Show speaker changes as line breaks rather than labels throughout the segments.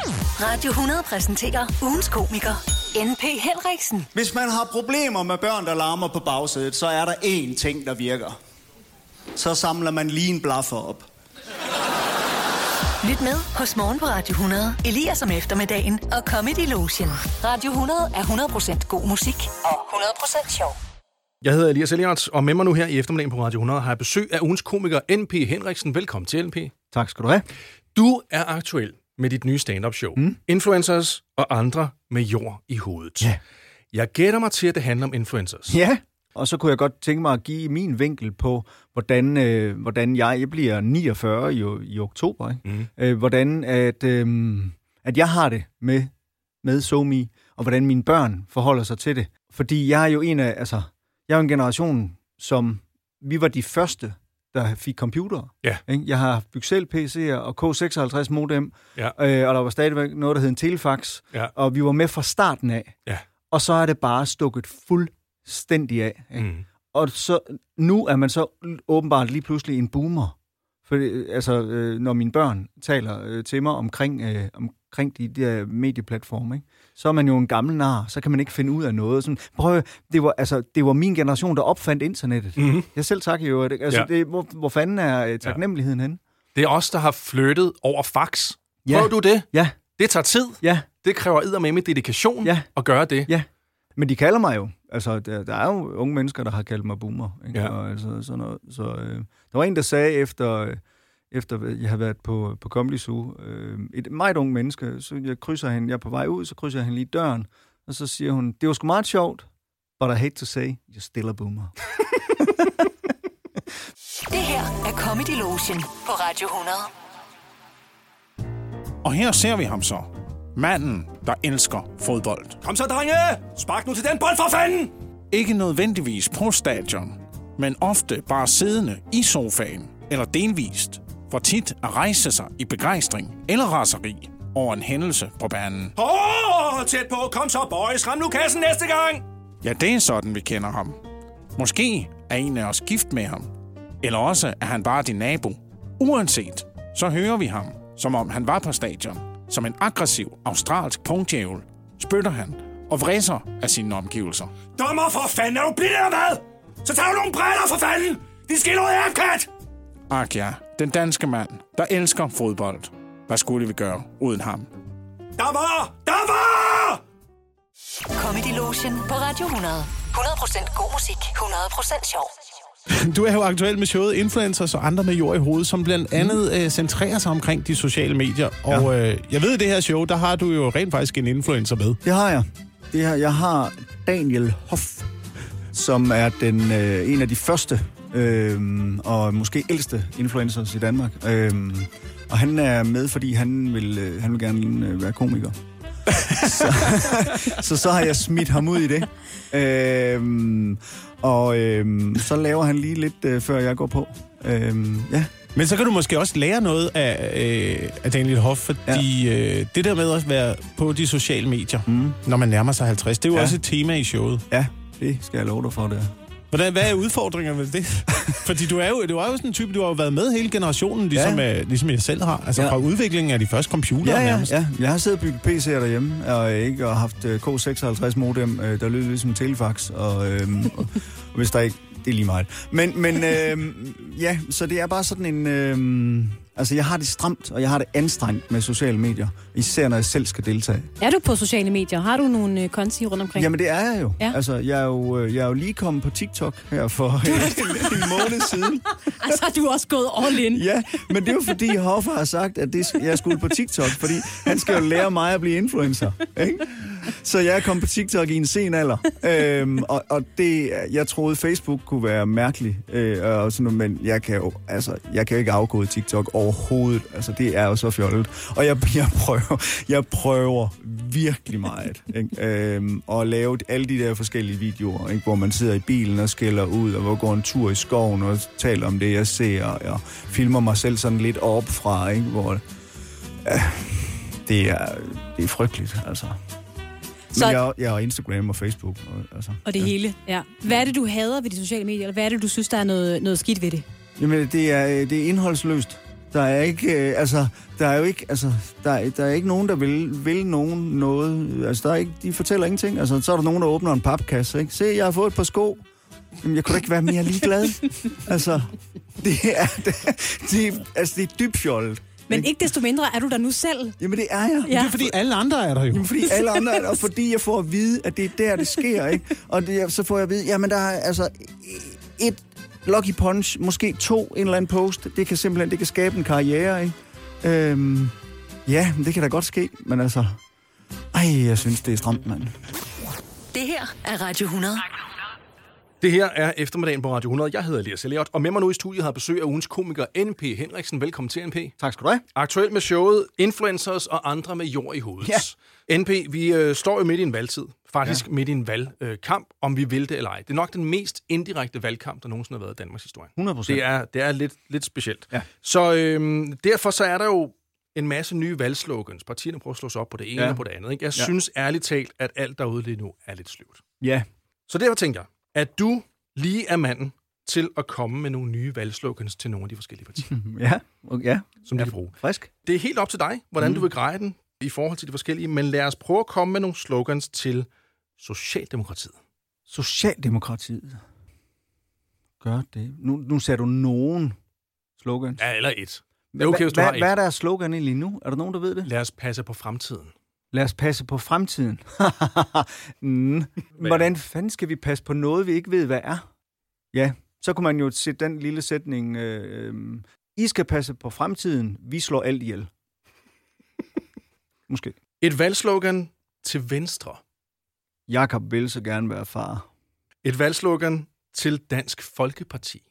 Radio 100 præsenterer ugens komiker, N.P. Henriksen.
Hvis man har problemer med børn, der larmer på bagsædet, så er der én ting, der virker. Så samler man lige en blaffer op.
Lyt med hos Morgen på Radio 100, Elias om eftermiddagen og Comedy Lotion. Radio 100 er 100% god musik og 100% sjov.
Jeg hedder Elias Eliards, og med mig nu her i eftermiddagen på Radio 100 har jeg besøg af ugens komiker N.P. Henriksen. Velkommen til, N.P.
Tak skal du have.
Du er aktuel med dit nye stand-up show. Mm. Influencers og andre med jord i hovedet.
Ja.
Jeg gætter mig til, at det handler om influencers.
Ja. Og så kunne jeg godt tænke mig at give min vinkel på, hvordan, øh, hvordan jeg, jeg bliver 49 i, i oktober, ikke?
Mm.
Øh, hvordan at, øh, at jeg har det med, med SoMe, og hvordan mine børn forholder sig til det. Fordi jeg er jo en af, altså, jeg er jo en generation, som vi var de første, der fik computere.
Ja.
Ikke? Jeg har haft Byxel PC'er og K56 modem,
Ja.
øh, og der var stadigvæk noget, der hed en telefax,
Ja.
og vi var med fra starten af.
Ja.
Og så er det bare stukket fuldstændig af. Ikke?
Mm.
Og så, nu er man så åbenbart lige pludselig en boomer. For, øh, altså, øh, når mine børn taler øh, til mig omkring, øh, omkring de der medieplatforme, ikke? så er man jo en gammel nar, så kan man ikke finde ud af noget. Sådan, prøv, at- det var, altså, det var min generation, der opfandt internettet.
Mhm.
Jeg selv tak i øvrigt. ikke? Altså,
Ja.
ja. det, hvor, hvor fanden er øh, taknemmeligheden ja. henne?
Det er os, der har flyttet over fax.
Ja.
Prøv du det?
Ja,
Det tager tid.
ja,
Det kræver eddermame dedikation
Ja.
at gøre det.
ja. Men de kalder mig jo. Altså, der, der er jo unge mennesker, der har kaldt mig boomer. Ikke?
Ja.
Og altså, sådan noget. Så, øh, der var en, der sagde efter... Øh, efter jeg har været på, på Comedy Zoo, øh, et meget ung menneske, så jeg krydser hende, jeg er på vej ud, så krydser jeg hende lige i døren, og så siger hun, det var sgu meget sjovt, but I hate to say, you're still a boomer.
Det her er Comedy Lotion på Radio 100.
Og her ser vi ham så. Manden, der elsker fodbold.
Kom så, drenge! Spark nu til den bold for fanden!
Ikke nødvendigvis på stadion, men ofte bare siddende i sofaen, eller delvist, for tit at rejse sig i begejstring eller raseri over en hændelse på banen.
Åh, oh, tæt på! Kom så, boys! Ram nu kassen næste gang!
Ja, det er sådan, vi kender ham. Måske er en af os gift med ham. Eller også er han bare din nabo. Uanset, så hører vi ham, som om han var på stadion. Som en aggressiv australsk punktjævel spytter han og vræser af sine omgivelser.
Dommer for fanden! Er du blind eller hvad? Så tager du nogle brænder for fanden! Din skildrede afkat!
Ak ja, den danske mand, der elsker fodbold. Hvad skulle vi gøre uden ham?
Der var! Der var!
Comedy Lotion på Radio 100. 100% god musik, 100% sjov.
Du er jo aktuel med showet Influencers og andre med jord i hovedet, som
Mm.
blandt andet øh, centrerer sig omkring de sociale medier. Og øh, jeg ved, i det her show, der har du jo rent faktisk en influencer med.
Det har jeg. Det her, jeg har Daniel Hoff, som er den øh, en af de første øh, og måske ældste influencers i Danmark. Øh, og han er med, fordi han vil, øh, han vil gerne øh, være komiker. så, så så har jeg smidt ham ud i det. Øh, og øh, så laver han lige lidt, øh, før jeg går på. Øh, ja,
Men så kan du måske også lære noget af, øh, af Daniel Hoff, fordi ja. øh, det der med at være på de sociale medier, mm. når man nærmer sig 50, det er jo ja.
Ja.
også et tema i showet.
ja, det skal jeg love dig for, det er.
Hvordan, hvad er udfordringerne ved det? fordi du er, jo, du er jo sådan en type, du har jo været med hele generationen, ligesom, ja. øh, ligesom jeg selv har. Altså ja.
Ja.
fra udviklingen af de første computere
Ja, ja,
nærmest.
ja. Jeg har siddet og bygget PC'er derhjemme, og, øh, ikke, og haft øh, K56 modem, øh, der lyder ligesom telefax, og, øh, og hvis der ikke... Det er lige meget. Men, men øh, ja, så det er bare sådan en... Øh, altså, jeg har det stramt, og jeg har det anstrengt med sociale medier, især når jeg selv skal deltage.
Er du på sociale medier? Har du nogle øh, konti rundt omkring?
Jamen, det er jeg jo.
Ja.
Altså, jeg er jo, øh, jeg er jo lige kommet på TikTok her for øh, en, en måned siden.
Altså, har du også gået all in.
Ja, men det er jo fordi Hoffa har sagt, at det, jeg skulle på TikTok, fordi han skal jo lære mig at blive influencer. Ikke? Så jeg er kommet på TikTok i en sen alder. Øhm, og, og det, jeg troede, Facebook kunne være mærkelig, øh, og sådan, noget, men jeg kan, jo, altså, jeg kan jo ikke afgå TikTok overhovedet. Altså, det er jo så fjollet. Og jeg, jeg, prøver, jeg prøver virkelig meget ikke? Øhm, at lave alle de der forskellige videoer, ikke? hvor man sidder i bilen og skælder ud, og hvor går en tur i skoven og taler om det, jeg ser, og filmer mig selv sådan lidt op fra, ikke? hvor... Øh, det er, det er frygteligt, altså.
Så-
Så... Men jeg, jeg har Instagram og Facebook. Og, altså.
Og det hele, ja. Hvad er det, du hader ved de sociale medier? Eller hvad er det, du synes, der er noget, noget skidt ved det?
Jamen, det er, øh, det er indholdsløst.
Der er ikke, øh, altså, der er jo ikke, altså, der er, der er ikke nogen, der vil, vil nogen noget. Altså, der er ikke, de fortæller ingenting. Altså, så er der nogen, der åbner en papkasse, ikke? Se, jeg har fået et par sko. Jamen, jeg kunne da ikke være mere ligeglad. altså, det er, det, de, altså, det er dybt fjollet.
Men ikke desto mindre er du der nu selv.
Jamen, det er jeg.
Ja.
Det er fordi alle andre er der jo.
Jamen, fordi alle andre, og fordi jeg får at vide, at det er der, det sker, ikke? Og det, så får jeg at vide, jamen der er altså et lucky punch, måske to, en eller anden post. Det kan simpelthen, det kan skabe en karriere, ikke? Øhm, ja, men det kan da godt ske, men altså... Ej, jeg synes, det er stramt, mand.
Det her er Radio 100.
Det her er eftermiddagen på Radio 100. Jeg hedder Elias Eliot, og med mig nu i studiet har besøg af ugens komiker NP Henriksen. Velkommen til NP.
Tak skal du have.
Aktuelt med showet Influencers og andre med jord i hovedet. Ja. NP, vi øh, står jo midt i en valgtid. Faktisk ja. midt i en valgkamp, øh, kamp, om vi vil det eller ej. Det er nok den mest indirekte valgkamp, der nogensinde har været i Danmarks historie.
100%.
Det er, det er lidt, lidt specielt.
Ja.
Så øhm, derfor så er der jo en masse nye valgslogans. Partierne prøver at slå sig op på det ene ja.
Ja.
og på det andet. Ikke? Jeg ja. synes ærligt talt, at alt derude lige nu er lidt sløvt.
Ja.
Så derfor tænker jeg, at du lige er manden til at komme med nogle nye valgslogans til nogle af de forskellige partier,
Ja. Okay, ja.
som de kan bruge.
Frisk.
Det er helt op til dig, hvordan mm. du vil greje den i forhold til de forskellige, men lad os prøve at komme med nogle slogans til Socialdemokratiet.
Socialdemokratiet. Gør det. Nu, nu ser du nogen slogan.
Ja, eller et. Det er okay, hvis du
Hva-
har
hva- Hvad er
et.
deres slogan egentlig nu? Er der nogen, der ved det?
Lad os passe på fremtiden.
Lad os passe på fremtiden. mm. Hvordan fanden skal vi passe på noget, vi ikke ved, hvad er? Ja, så kunne man jo sætte den lille sætning. Øh, øhm, I skal passe på fremtiden. Vi slår alt ihjel. Måske.
Et valgslogan til Venstre.
Jakob vil så gerne være far.
Et valgslogan til Dansk Folkeparti.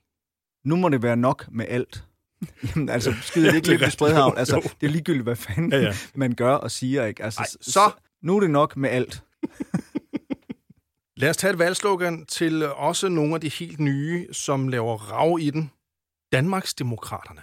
Nu må det være nok med alt. Jamen, altså, skyder det ikke lidt på spredhavn? Altså, det er ligegyldigt, hvad fanden ja, ja. man gør og siger, ikke? Altså,
Ej,
s-
så-
Nu er det nok med alt.
Lad os tage et valgslogan til også nogle af de helt nye, som laver rav i den. Danmarks Demokraterne.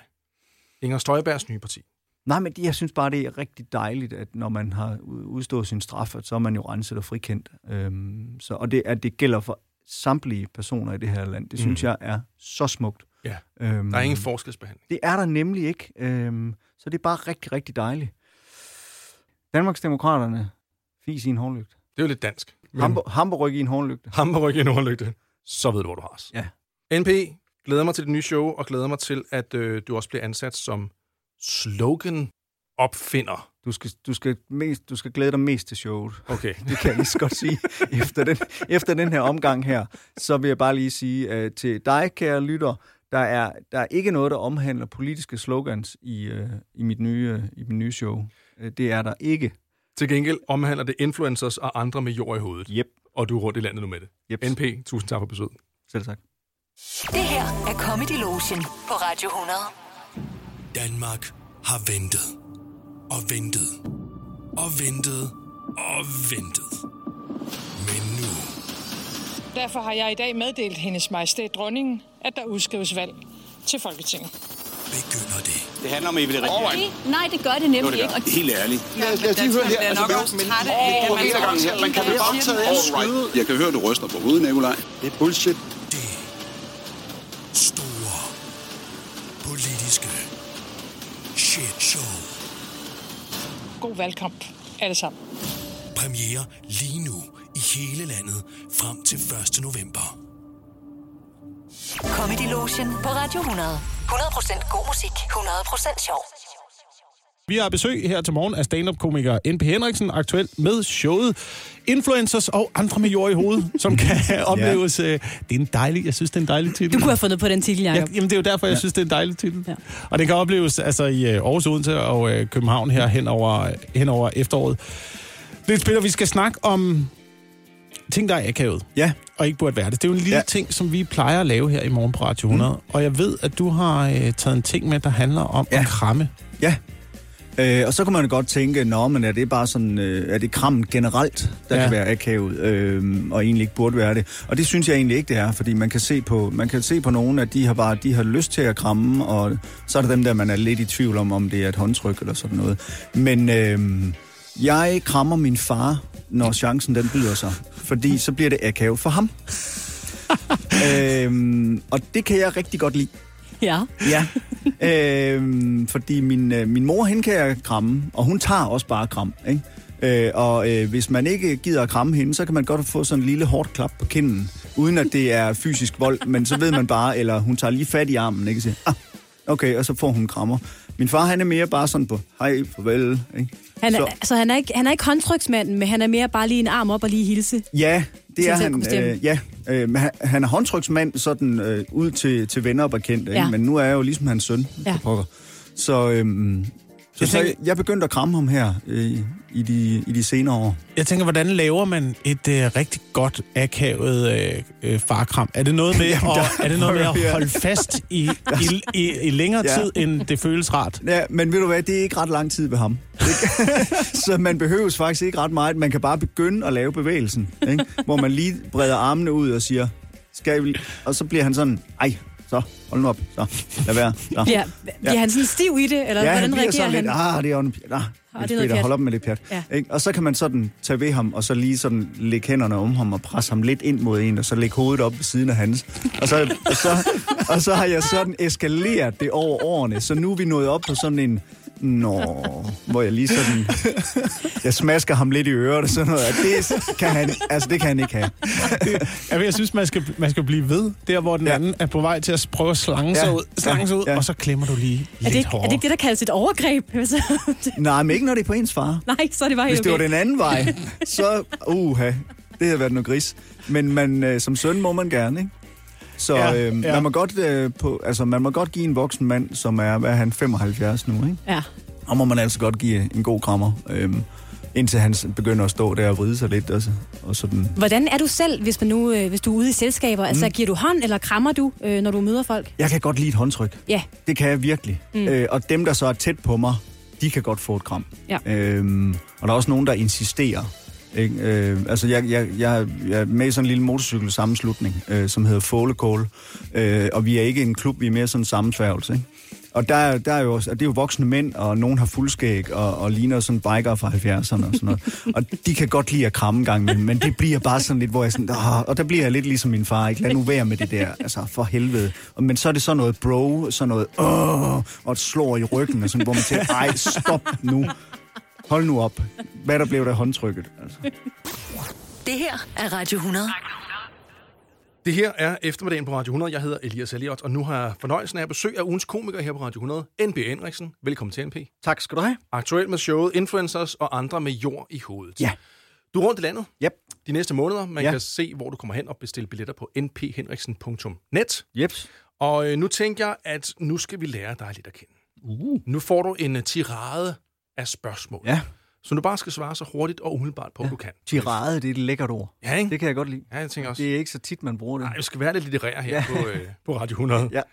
Inger Støjbergs nye parti.
Nej, men det- jeg synes bare, det er rigtig dejligt, at når man har u- udstået sin straf, at så er man jo renset og frikendt. Øhm, så, og det, at det gælder for samtlige personer i det her land, det synes mm. jeg er så smukt.
Ja.
Øhm,
Der er ingen forskelsbehandling.
Det er der nemlig ikke. Øhm, så det er bare rigtig, rigtig dejligt. Danmarksdemokraterne, fis i en hornlygt.
Det er jo lidt dansk.
Hamburg, Hamburg i en hornlygte.
Hamburg i en overlygte, så ved du, hvor du har os.
Ja.
NP, glæder mig til det nye show, og glæder mig til, at øh, du også bliver ansat som slogan-opfinder.
Du skal, du, skal mest, du skal glæde dig mest til showet.
Okay.
Det kan jeg lige så godt sige. Efter den, efter den her omgang her, så vil jeg bare lige sige øh, til dig, kære lytter, der er, der er ikke noget, der omhandler politiske slogans i, øh, i, mit, nye, øh, i mit nye show. Øh, Det er der ikke.
Til gengæld omhandler det influencers og andre med jord i hovedet.
Jep.
Og du er rundt i landet nu med det.
Yep.
NP, tusind tak for besøget.
Selv tak.
Det her er Comedy Lotion på Radio 100.
Danmark har ventet. Og ventet. Og ventet. Og ventet. Men nu
Derfor har jeg i dag meddelt hendes majestæt dronningen, at der udskrives valg til Folketinget.
begynder det.
Nej, det gør det nemlig ikke. Og
Helt ærligt. Jeg kan høre, du ryster på hovedet, Nikolaj. Det er bullshit.
Det store politiske shit show.
God valgkamp, alle sammen.
Premiere lige nu i hele landet frem til 1. november.
Comedy Lotion på Radio 100. 100% god musik, 100% sjov.
Vi har besøg her til morgen af stand-up-komiker N.P. Henriksen, aktuelt med showet Influencers og andre med jord i hovedet, som kan opleves. øh, Det er en dejlig, jeg synes, det er en dejlig titel.
Du kunne have fundet på den titel,
Ja,
Jacob.
jamen det er jo derfor, jeg synes, det er en dejlig titel. Ja.
Ja.
Og det kan opleves altså, i øh, Aarhus, Odense og øh, København her hen over, hen over efteråret. Lidt spiller, vi skal snakke om ting, der er akavet
Ja,
og ikke burde være det. Det er jo en lille ja.
Ja.
ting, som vi plejer at lave her i morgen på Radio 100. Mm. Og jeg ved, at du har øh, taget en ting med, der handler om ja.
Ja.
at kramme.
Ja. Øh, og så kan man jo godt tænke, nå, men er det bare sådan, øh, er det krammen generelt, der
Ja.
ja. kan være akavet, øh, og egentlig ikke burde være det. Og det synes jeg egentlig ikke, det er, fordi man kan se på, man kan se på nogen, at de har bare, de har lyst til at kramme, og så er der dem der, man er lidt i tvivl om, om det er et håndtryk eller sådan noget. Men øh, jeg krammer min far, når chancen den byder sig, fordi så bliver det akavet for ham. øhm, og det kan jeg rigtig godt lide.
Ja.
Ja, øhm, fordi min, øh, min mor, hende kan jeg kramme, og hun tager også bare kram, ikke? Øh, og øh, hvis man ikke gider at kramme hende, så kan man godt få sådan en lille hårdt klap på kinden, uden at det er fysisk vold, men så ved man bare, eller hun tager lige fat i armen, ikke? Så, ah, okay, og så får hun krammer. Min far, han er mere bare sådan på, hej, farvel, ikke?
Han er, så
Så-
altså, han, er ikke, han er ikke håndtryksmanden, men han er mere bare lige en arm op og lige hilse.
Ja, det
Til
er
selv at kunne
han.
bestemme.
Øh, ja, øh, men han, han er håndtryksmand sådan øh, ud til, til venner og bekendte,
Ja.
ja. men nu er jeg jo ligesom hans søn.
Ja.
for Pokker. Så, øhm, så, jeg, så
tænker-
jeg begyndte at kramme ham her øh, i, de, i de senere år.
Jeg tænker, hvordan laver man et øh, rigtig godt akavet øh, øh, farkram? Er det noget med,
Jamen,
Jamen,
der-
at, er det noget med
Ja.
at holde fast i, i, i, i længere
Ja.
ja. tid, end det føles rart?
Ja, men ved du hvad, det er ikke ret lang tid ved ham. så man behøves faktisk ikke ret meget. Man kan bare begynde at lave bevægelsen, ikke? hvor man lige breder armene ud og siger, skal vi... Og så bliver han sådan, ej, så, hold nu op, så, lad være. Så.
Ja, bliver han sådan stiv i det, eller
ja,
hvordan
han bliver
reagerer
sådan
han?
lidt, ah, det er jo en pjat. Ah,
er
ah,
noget
Peter,
pjat."
hold op med det pjat.
Ja.
Ja. Ikke? Og så kan man sådan tage ved ham, og så lige sådan lægge hænderne om ham, og presse ham lidt ind mod en, og så lægge hovedet op ved siden af hans. Og så, og så, og så har jeg sådan eskaleret det over årene, så nu er vi nået op på sådan en... Nå, hvor jeg lige sådan... Jeg smasker ham lidt i øret og sådan noget. Og det kan han, altså det kan han ikke have.
Jamen, jeg synes, man skal, man skal blive ved, der hvor den ja. anden er på vej til at s- prøve at slange sig
Ja.
ud, slange sig ud
Ja.
og så klemmer du lige
Er
lidt
det, ikke, er
hårdere.
det ikke det, der kaldes et overgreb? Altså, det-
Nej, men ikke når det er på ens far.
Nej, så er det bare
Hvis
helt
det var
okay.
den anden vej, så uha, det havde været noget gris. Men man, øh, som søn må man gerne, ikke? Så
Ja,
ja, øh,
ja.
ja. Man, må godt, øh, på, altså, man må godt give en voksen mand, som er, hvad er han, 75 nu, ikke?
Ja.
Og må man altså godt give en god krammer, øh, indtil han begynder at stå der og vride sig lidt. Altså, og sådan.
Hvordan er du selv, hvis, man nu, øh, hvis du er ude i selskaber? Mm. Altså, giver du hånd, eller krammer du, øh, når du møder folk?
Jeg kan godt lide et håndtryk.
Ja,
Det kan jeg virkelig.
Mm.
Mm. Øh, og dem, der så er tæt på mig, de kan godt få et kram.
Ja.
Øhm, og der er også nogen, der insisterer. Ikke? Øh, altså, jeg, jeg, jeg, jeg er med i sådan en lille motorcykelsammenslutning, øh, som hedder Fålekål. Øh, og vi er ikke en klub, vi er mere sådan en sammensværgelse. Ikke? Og der, er- der er jo, også- og det er jo voksne mænd, og nogen har fuldskæg, og, og ligner sådan bikere fra 70'erne og sådan noget. Og de kan godt lide at kramme en gang imellem, men det bliver bare sådan lidt, hvor jeg sådan, "Ah," og der bliver jeg lidt ligesom min far, ikke? Lad nu være med det der, altså for helvede. Og- Men så er det sådan noget bro, sådan noget, åh, og et slår i ryggen, og sådan, hvor man tænker, ej, stop nu. Hold nu op. Hvad der blev der håndtrykket? Altså.
Det her er Radio 100.
Det her er eftermiddagen på Radio 100. Jeg hedder Elias Eliot, og nu har jeg fornøjelsen af at besøg af ugens komiker her på Radio 100, NP Henriksen. Velkommen til NP.
Tak skal du have.
Aktuelt med showet Influencers og andre med jord i hovedet.
Ja.
Du er rundt i landet
Yep.
de næste måneder. Man ja.
Ja.
kan se, hvor du kommer hen og bestille billetter på nphenriksen.net.
Yep.
Og øh, nu tænker jeg, at nu skal vi lære dig lidt at kende.
Uh.
Nu får du en øh, tirade af spørgsmål,
Ja,
som du bare skal svare så hurtigt og umiddelbart på, ja. du kan.
tirade, det er et lækkert ord.
Ja, ikke?
Det kan jeg godt lide.
Ja, jeg tænker også.
Det er ikke så tit, man bruger det.
Nej, vi skal være lidt litterære her
Ja.
på, øh, på Radio 100.
Ja.
Er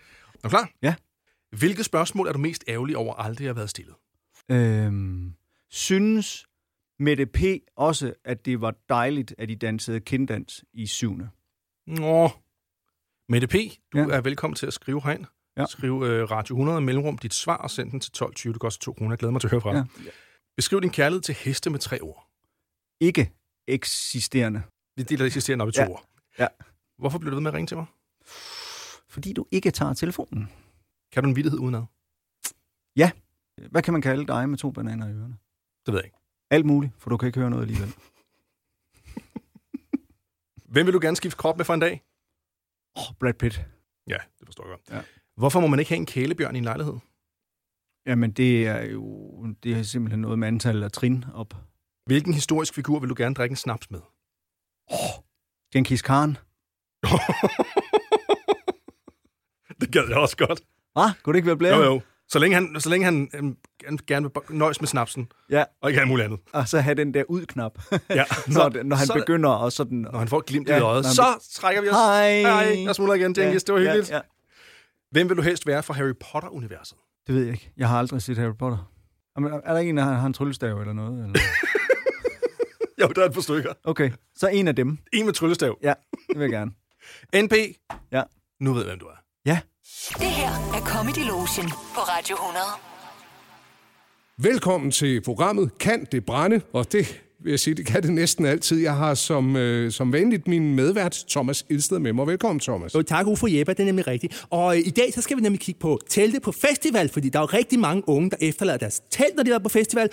du klar?
Ja.
Hvilke spørgsmål er du mest ærgerlig over aldrig at have været stillet?
Øhm, synes Mette P. også, at det var dejligt, at I dansede kinddans i syvende?
Nå. Mette P., du ja.
Ja.
er velkommen til at skrive herind. Ja.
Ja.
Skriv øh, Radio 100 mellemrum dit svar og send den til 12.20. Det koster 2 kroner. Jeg glæder mig til at høre fra dig.
Ja.
Beskriv din kærlighed til heste med tre ord.
Ikke eksisterende.
Vi deler eksisterende op i to
Ja.
ord.
Ja.
Hvorfor bliver du ved med at ringe til mig?
Fordi du ikke tager telefonen.
Kan du en vittighed udenad?
Hvad kan man kalde dig med to bananer i ørerne?
Det ved jeg ikke.
Alt muligt, for du kan ikke høre noget alligevel.
Hvem vil du gerne skifte krop med for en dag?
Åh, oh, Brad Pitt.
Ja, det forstår jeg godt.
Ja.
Hvorfor må man ikke have en kælebjørn i en lejlighed?
Jamen, det er jo det er simpelthen noget med antallet af trin op.
Hvilken historisk figur vil du gerne drikke en snaps med?
Genghis Khan.
det gad jeg også godt.
Hva? Kunne det ikke være blæret?
Jo, jo. Så længe han, så længe han øhm, gerne- gerne vil nøjes med snapsen,
Ja,
og ikke alt muligt andet.
og så have den der ud-knap,
Ja.
når, når han
så,
begynder og sådan...
Når han får et glimt ja,
Ja,
i øjet,
når han-
så trækker vi os.
Hej!
Hej, jeg smutter igen, Jenkins. Ja, det var hyggeligt. Ja,
Ja,
ja.
ja.
Hvem vil du helst være fra Harry Potter-universet?
Det ved jeg ikke. Jeg har aldrig set Harry Potter. Jamen, er der en, der har har en tryllestav eller noget? Eller?
Jo, der er et par stykker.
Okay, så en af dem.
En med tryllestav.
Ja, det vil jeg gerne.
NP,
Ja.
nu ved jeg, hvem du er.
Det her er Comedy Lotion på Radio 100.
Velkommen til programmet Kan det brænde? Og det vil jeg sige, det kan det næsten altid. Jeg har som, øh, som vanligt min medvært, Thomas Ilsted, med mig. Velkommen, Thomas.
Jo, tak, Ufo Jeppe, det er nemlig rigtigt. Og øh, i dag så skal vi nemlig kigge på telte på festival, fordi der er jo rigtig mange unge, der efterlader deres telt, når de er på festival.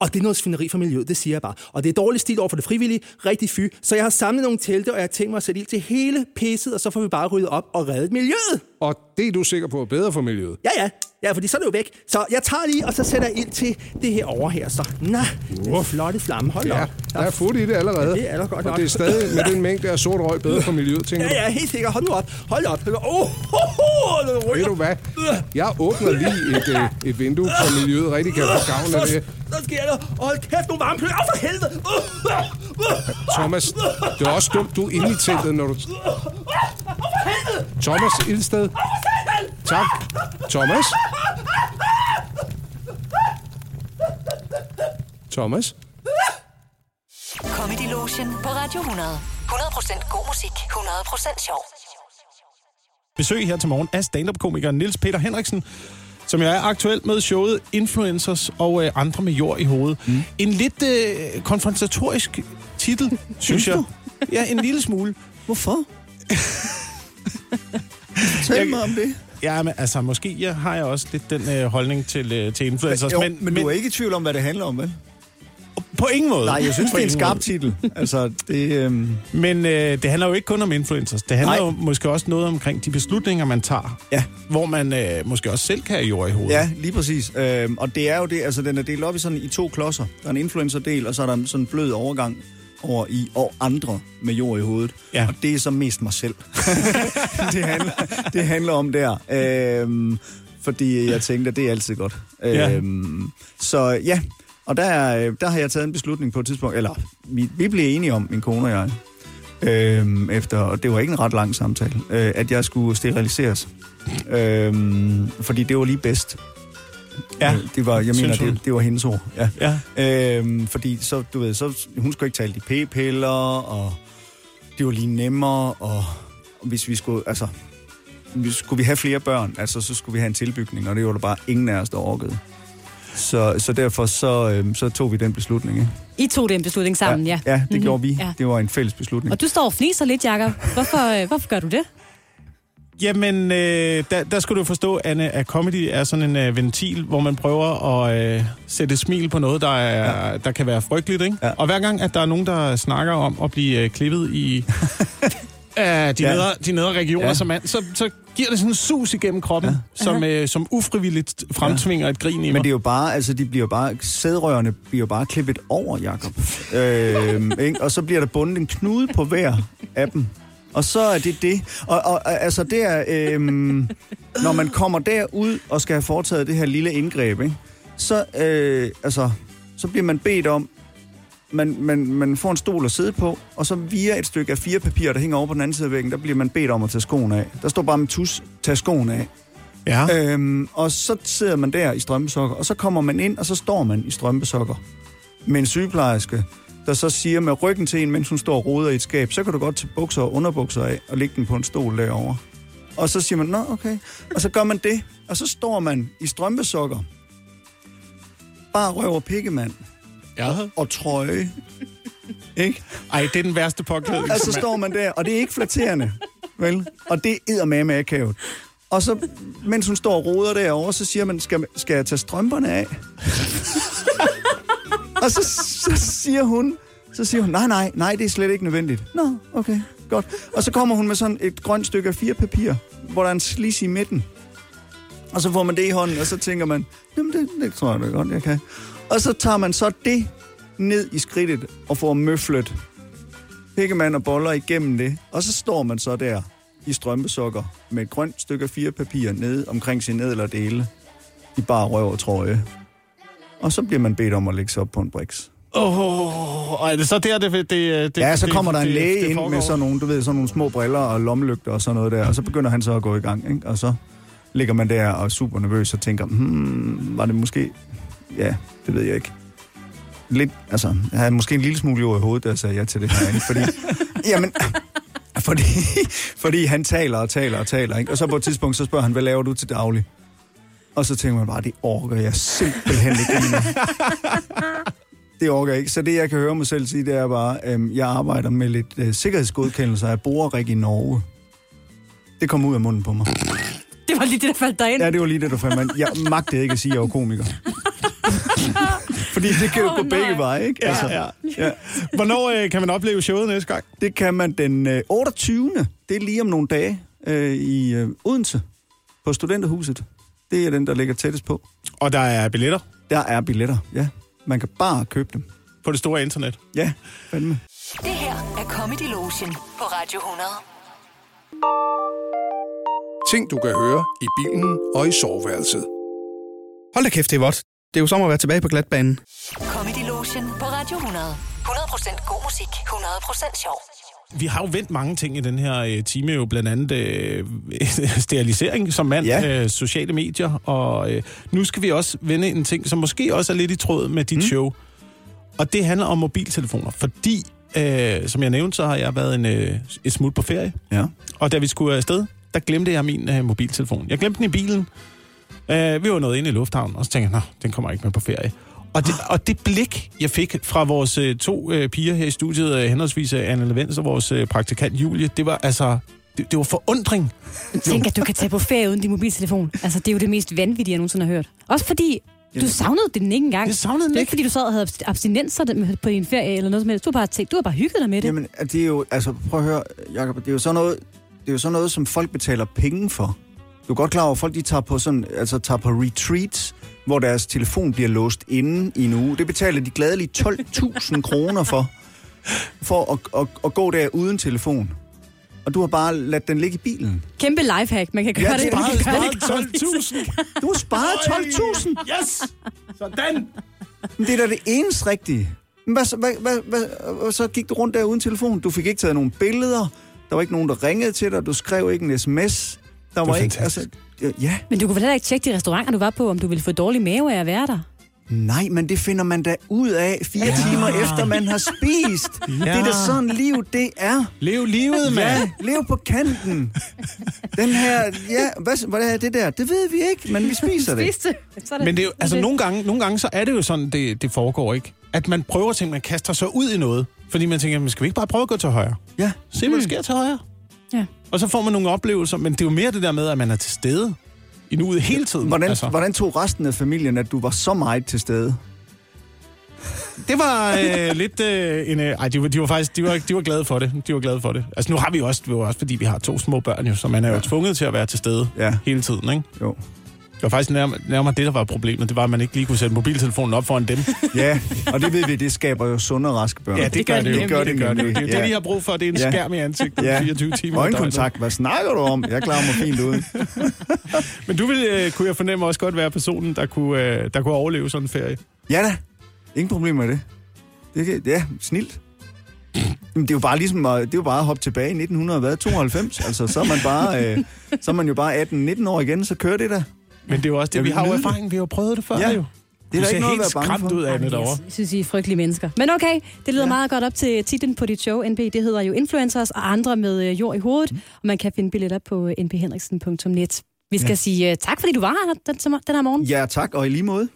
Og det er noget svineri for miljøet, det siger jeg bare. Og det er dårlig stil over for det frivillige, rigtig fy. Så jeg har samlet nogle telte, og jeg har tænkt mig at sætte ild til hele pisset, og så får vi bare ryddet op og reddet miljøet.
Og det er du sikker på er bedre for miljøet?
Ja, ja. Ja, fordi så er det jo væk. Så jeg tager lige, og så sætter jeg ild til det her over her. Så, nej, den flotte flamme. Hold
Ja,
op.
der er fut i det allerede.
Ja, det er der godt
og
nok.
det er stadig med den mængde af sort røg bedre for miljøet, tænker
Ja, ja,
du?
helt sikkert. Hold nu op. Hold op. Hold op. Oh, ho, ho, den ryger.
Ved du hvad? Jeg åbner lige et, øh, et vindue, så miljøet rigtig kan få gavn af det.
Så sker der. Og Hold kæft, nogle varmepløg. Åh, for helvede. Uh, uh, uh.
Thomas, det er også dumt, du er inde i teltet, når du... Thomas Ildsted. Tak. Thomas. Thomas.
Comedy Lotion på Radio 100. 100% god musik, 100% sjov.
besøg her til morgen af stand-up-komikeren Niels Peter Henriksen, som jeg er aktuel med showet Influencers og øh, andre med jord i hovedet. Mm. En lidt øh, konfrontatorisk titel, synes jeg. Ja, en lille smule.
Hvorfor? Fortæl mig om det.
Ja, men altså, måske ja, har jeg også lidt den øh, holdning til, øh, til influencers.
Jo, Altså, men, men du er ikke i tvivl om, hvad det handler om, vel?
På ingen måde.
Nej, jeg synes,
På
det er en
ingen
skarp
måde.
titel. Altså, det... Øhm...
Men øh, det handler jo ikke kun om influencers. Det handler Nej. jo måske også noget omkring de beslutninger, man tager.
Ja.
Hvor man øh, måske også selv kan have jord i hovedet.
Ja, lige præcis. Øhm, og det er jo det, altså den er delt op i sådan i to klodser. Der er en influencer-del, og så er der en sådan blød overgang over i og andre med jord i hovedet. Ja. Og det er så mest mig selv. det, handler, det handler om der. Øhm, fordi jeg tænkte, at det er altid godt.
Ja.
Øhm, så ja, og der, er, øh, der har jeg taget en beslutning på et tidspunkt, eller vi, vi blev enige om, min kone og jeg, øhm, efter, og det var ikke en ret lang samtale, øh, at jeg skulle steriliseres. Øhm, fordi det var lige bedst. Ja, Øh, det var, jeg mener,
synes hun.
det, det var hendes ord. Ja. ja. Øhm, fordi så, du ved, så, hun skulle ikke tale de p-piller, og det var lige nemmere, og hvis vi skulle, altså, vi- skulle vi have flere børn, altså, så skulle vi have en tilbygning, og det var der bare ingen af os, der orkede. Så, så derfor så, øhm, så tog vi den beslutning. Ikke?
I tog den beslutning sammen, ja.
Ja, det
Mhm.
mm-hmm. gjorde vi.
Ja.
Ja. Det var en fælles beslutning.
Og du står og fniser lidt, Jacob. Hvorfor, øh, hvorfor gør du det?
Jamen, øh, der, der skulle du forstå, Anne, at comedy er sådan en øh, ventil, hvor man prøver at øh, sætte et smil på noget, der, er, ja. der kan være frygteligt. Ikke? Ja. Og hver gang, at der er nogen, der snakker om at blive øh, klippet i af de, ja.
Ja.
nedre, de nedre regioner ja.
Ja.
som mand, så, så giver det sådan en sus igennem kroppen, ja. som, øh, som ufrivilligt fremtvinger ja. et grin i mig.
Men det er jo bare, altså de bliver jo bare, sædrørene bliver jo bare klippet over, Jacob. øhm, ikke? Og så bliver der bundet en knude på hver af dem. Og så er det det. Og, og og, altså det er, øhm, når man kommer derud og skal have foretaget det her lille indgreb, ikke? Så, øh, altså, så bliver man bedt om, man, man, man får en stol at sidde på, og så via et stykke af fire papir, der hænger over på den anden side af væggen, der bliver man bedt om at tage skoen af. Der står bare med tus, tag skoen af.
Ja.
Øhm, og så sidder man der i strømpesokker, og så kommer man ind, og så står man i strømpesokker med en sygeplejerske, der så siger med ryggen til en, mens hun står og roder i et skab, så kan du godt tage bukser og underbukser af og lægge den på en stol derovre. Og så siger man, nå okay. Og så gør man det, og så står man i strømpesokker, bare røver pikkemand
ja.
og trøje. Ikke?
Ej, det er den værste påklædning.
Og så
som er-
står man der, og det er ikke flatterende, vel? Og det er med akavet. Og så, mens hun står og roder derovre, så siger man, skal, skal jeg tage strømperne af? og så, så siger hun, så siger hun, nej, nej, nej, det er slet ikke nødvendigt. Nå, okay, godt. Og så kommer hun med sådan et grønt stykke af fire papir, hvor der er en slis i midten. Og så får man det i hånden, og så tænker man, jamen det, det tror jeg da godt, jeg kan. Og så tager man så det ned i skridtet og får møflet pikkemand og boller igennem det. Og så står man så der i strømpesokker med et grønt stykke af fire papir nede omkring sin nederdele i bare røv og trøje. Og så bliver man bedt om at lægge sig op på en briks.
Åh, oh, er det så der, det... det, det
Ja, så
det-
kommer der en
det- det
læge ind
foregår?
med sådan nogle, du ved, sådan nogle små briller og lommelygter og sådan noget der, og så begynder han så at gå i gang, ikke? og så ligger man der og er super nervøs og tænker, hmm, var det måske... Ja, det ved jeg ikke. Lidt, altså, jeg havde måske en lille smule jord i hovedet, da jeg sagde ja til det her, ikke? fordi... jamen, fordi, fordi han taler og taler og taler, ikke? og så på et tidspunkt, så spørger han, hvad laver du til daglig? Og så tænker man bare, det orker jeg simpelthen ikke lige nu.
det orker jeg ikke. Så det, jeg kan høre mig selv sige, det er bare, øhm, jeg arbejder med lidt øh, sikkerhedsgodkendelser af borerrig i Norge. Det kom ud af munden på mig.
Det var lige det, der faldt dig ind.
Ja, det var lige det, der fandt mig. ind. Jeg magtede ikke at sige, at jeg var komiker. Fordi det kan jo oh, på begge veje, ikke?
Altså,
Ja, ja.
ja.
Hvornår øh, kan man opleve showet næste gang?
Det kan man den øh, 28. Det er lige om nogle dage øh, i øh, Odense på Studenterhuset. Det er den, der ligger tættest på.
Og der er billetter?
Der er billetter, ja. Man kan bare købe dem.
På det store internet?
Ja, fandme.
Det her er Comedy Lotion på Radio 100.
Ting, du kan høre i bilen og i soveværelset.
Hold da kæft, det er vådt. Det er jo som at være tilbage på glatbanen.
Comedy Lotion på Radio 100. 100% god musik, 100% sjov.
Vi har jo vendt mange ting i den her øh, time, jo blandt andet øh, sterilisering som mand, ja. øh, sociale medier, og øh, nu skal vi også vende en ting, som måske også er lidt i tråd med dit mm. show. Og det handler om mobiltelefoner, fordi, øh, som jeg nævnte, så har jeg været en, øh, et smut på ferie,
Ja.
og da vi skulle afsted, der glemte jeg min øh, mobiltelefon. Jeg glemte den i bilen. Øh, vi var nået inde i lufthavnen, og så tænkte jeg, Nå, den kommer ikke med på ferie. Og det, og det blik, jeg fik fra vores øh, to øh, piger her i studiet, øh, henholdsvis øh, Anne Levens og vores øh, praktikant Julie, det var altså... Det, det var forundring.
Tænk, at du kan tage på ferie uden din mobiltelefon. Altså, det er jo det mest vanvittige, jeg nogensinde har hørt. Også fordi, du savnede den ikke engang.
Jeg savnede den
det er
ikke.
ikke, fordi du sad og havde abst- abstinenser den- på din ferie eller noget som helst. Du har bare, tænkt, du har bare hygget dig med det.
Jamen, at det er jo, altså, prøv at høre, Jacob, det er jo sådan noget, det er jo sådan noget, som folk betaler penge for. Du er godt klar over, at folk de tager på, sådan, altså, tager på retreats, hvor deres telefon bliver låst inde i en uge. Det betaler de gladeligt 12.000 kroner for, for at, at, at, gå der uden telefon. Og du har bare ladt den ligge i bilen.
Kæmpe lifehack. Man kan gøre det. Man kan gøre det gratis.
12.000. Du har sparet 12.000.
Yes! Sådan!
Men det er da det eneste rigtige. Men hvad, så- hvad, hvad, hvad, og så gik du rundt der uden telefon. Du fik ikke taget nogen billeder. Der var ikke nogen, der ringede til dig. Du skrev ikke en sms. Der var ikke, altså, ja,
Men du kunne vel heller ikke tjekke de restauranter, du var på, om du ville få dårlig mave af at være der.
nej, men det finder man da ud af fire ja. timer efter, man har spist. Ja. Det er da sådan, liv det er.
Lev livet, mand!
Ja, lev på kanten. Den her, ja, hvad, hvad er det der? Det ved vi ikke, men vi spiser det.
Spiste. Sådan.
Men det er jo, altså, nogle, gange, nogle gange, så er det jo sådan, det, det foregår, ikke? At man prøver ting, man kaster sig ud i noget. Fordi man tænker, men skal vi ikke bare prøve at gå til højre?
Ja.
Se, hvad der sker til højre.
Ja.
Og så får man nogle oplevelser, men det er jo mere det der med, at man er til stede i nuet hele tiden.
Hvordan,
altså.
hvordan tog resten af familien, at du var så meget til stede?
Det var øh, lidt øh, en... Øh, ej, de var, de var faktisk de var, de var glade for det. De var glade for det. Altså, nu har vi jo også, det var jo også fordi vi har to små børn jo, så man er jo tvunget til at være til stede
Ja.
hele tiden, ikke?
Jo.
Det var faktisk nærmere, nærmere det, der var problemet. Det var, at man ikke lige kunne sætte mobiltelefonen op foran dem.
Ja, og det ved vi, det skaber jo sunde og raske børn.
Ja, det, gør det, jo.
Det gør det,
gør det.
nemlig.
Det er jo
Ja.
det, de har brug for. Det er en
Ja.
skærm i ansigtet
Ja.
ja. 24 timer. i
Øjenkontakt, hvad snakker du om? Jeg klarer mig fint uden.
døgnet. Men du ville, øh, kunne jeg fornemme, også godt være personen, der kunne, øh, der kunne overleve sådan en ferie.
Ja da, ingen problemer med det. det kan, ja, snilt. Jamen, det er jo bare ligesom at, det er jo bare at hoppe tilbage i 1992. Altså, så er man, bare, øh, så er man jo bare 18-19 år igen, så kører det der.
Men det er jo også det,
Jeg
vi
vil
har jo
nyde det.
erfaring. Vi har jo prøvet det før,
Ja.
jo.
Det er
du
der
ser
ikke noget
helt
at være bange
skræmt
for.
ud af det derovre.
Jeg synes, I er frygtelige mennesker. Men okay, det lyder ja. meget godt op til titlen på dit show, NB. Det hedder jo Influencers og andre med øh, jord i hovedet. Mm. Og man kan finde billetter på øh, nbhenriksen.net. Vi skal
Ja.
ja. sige øh, tak, fordi du var her den, den her morgen.
Ja, tak, og i lige måde.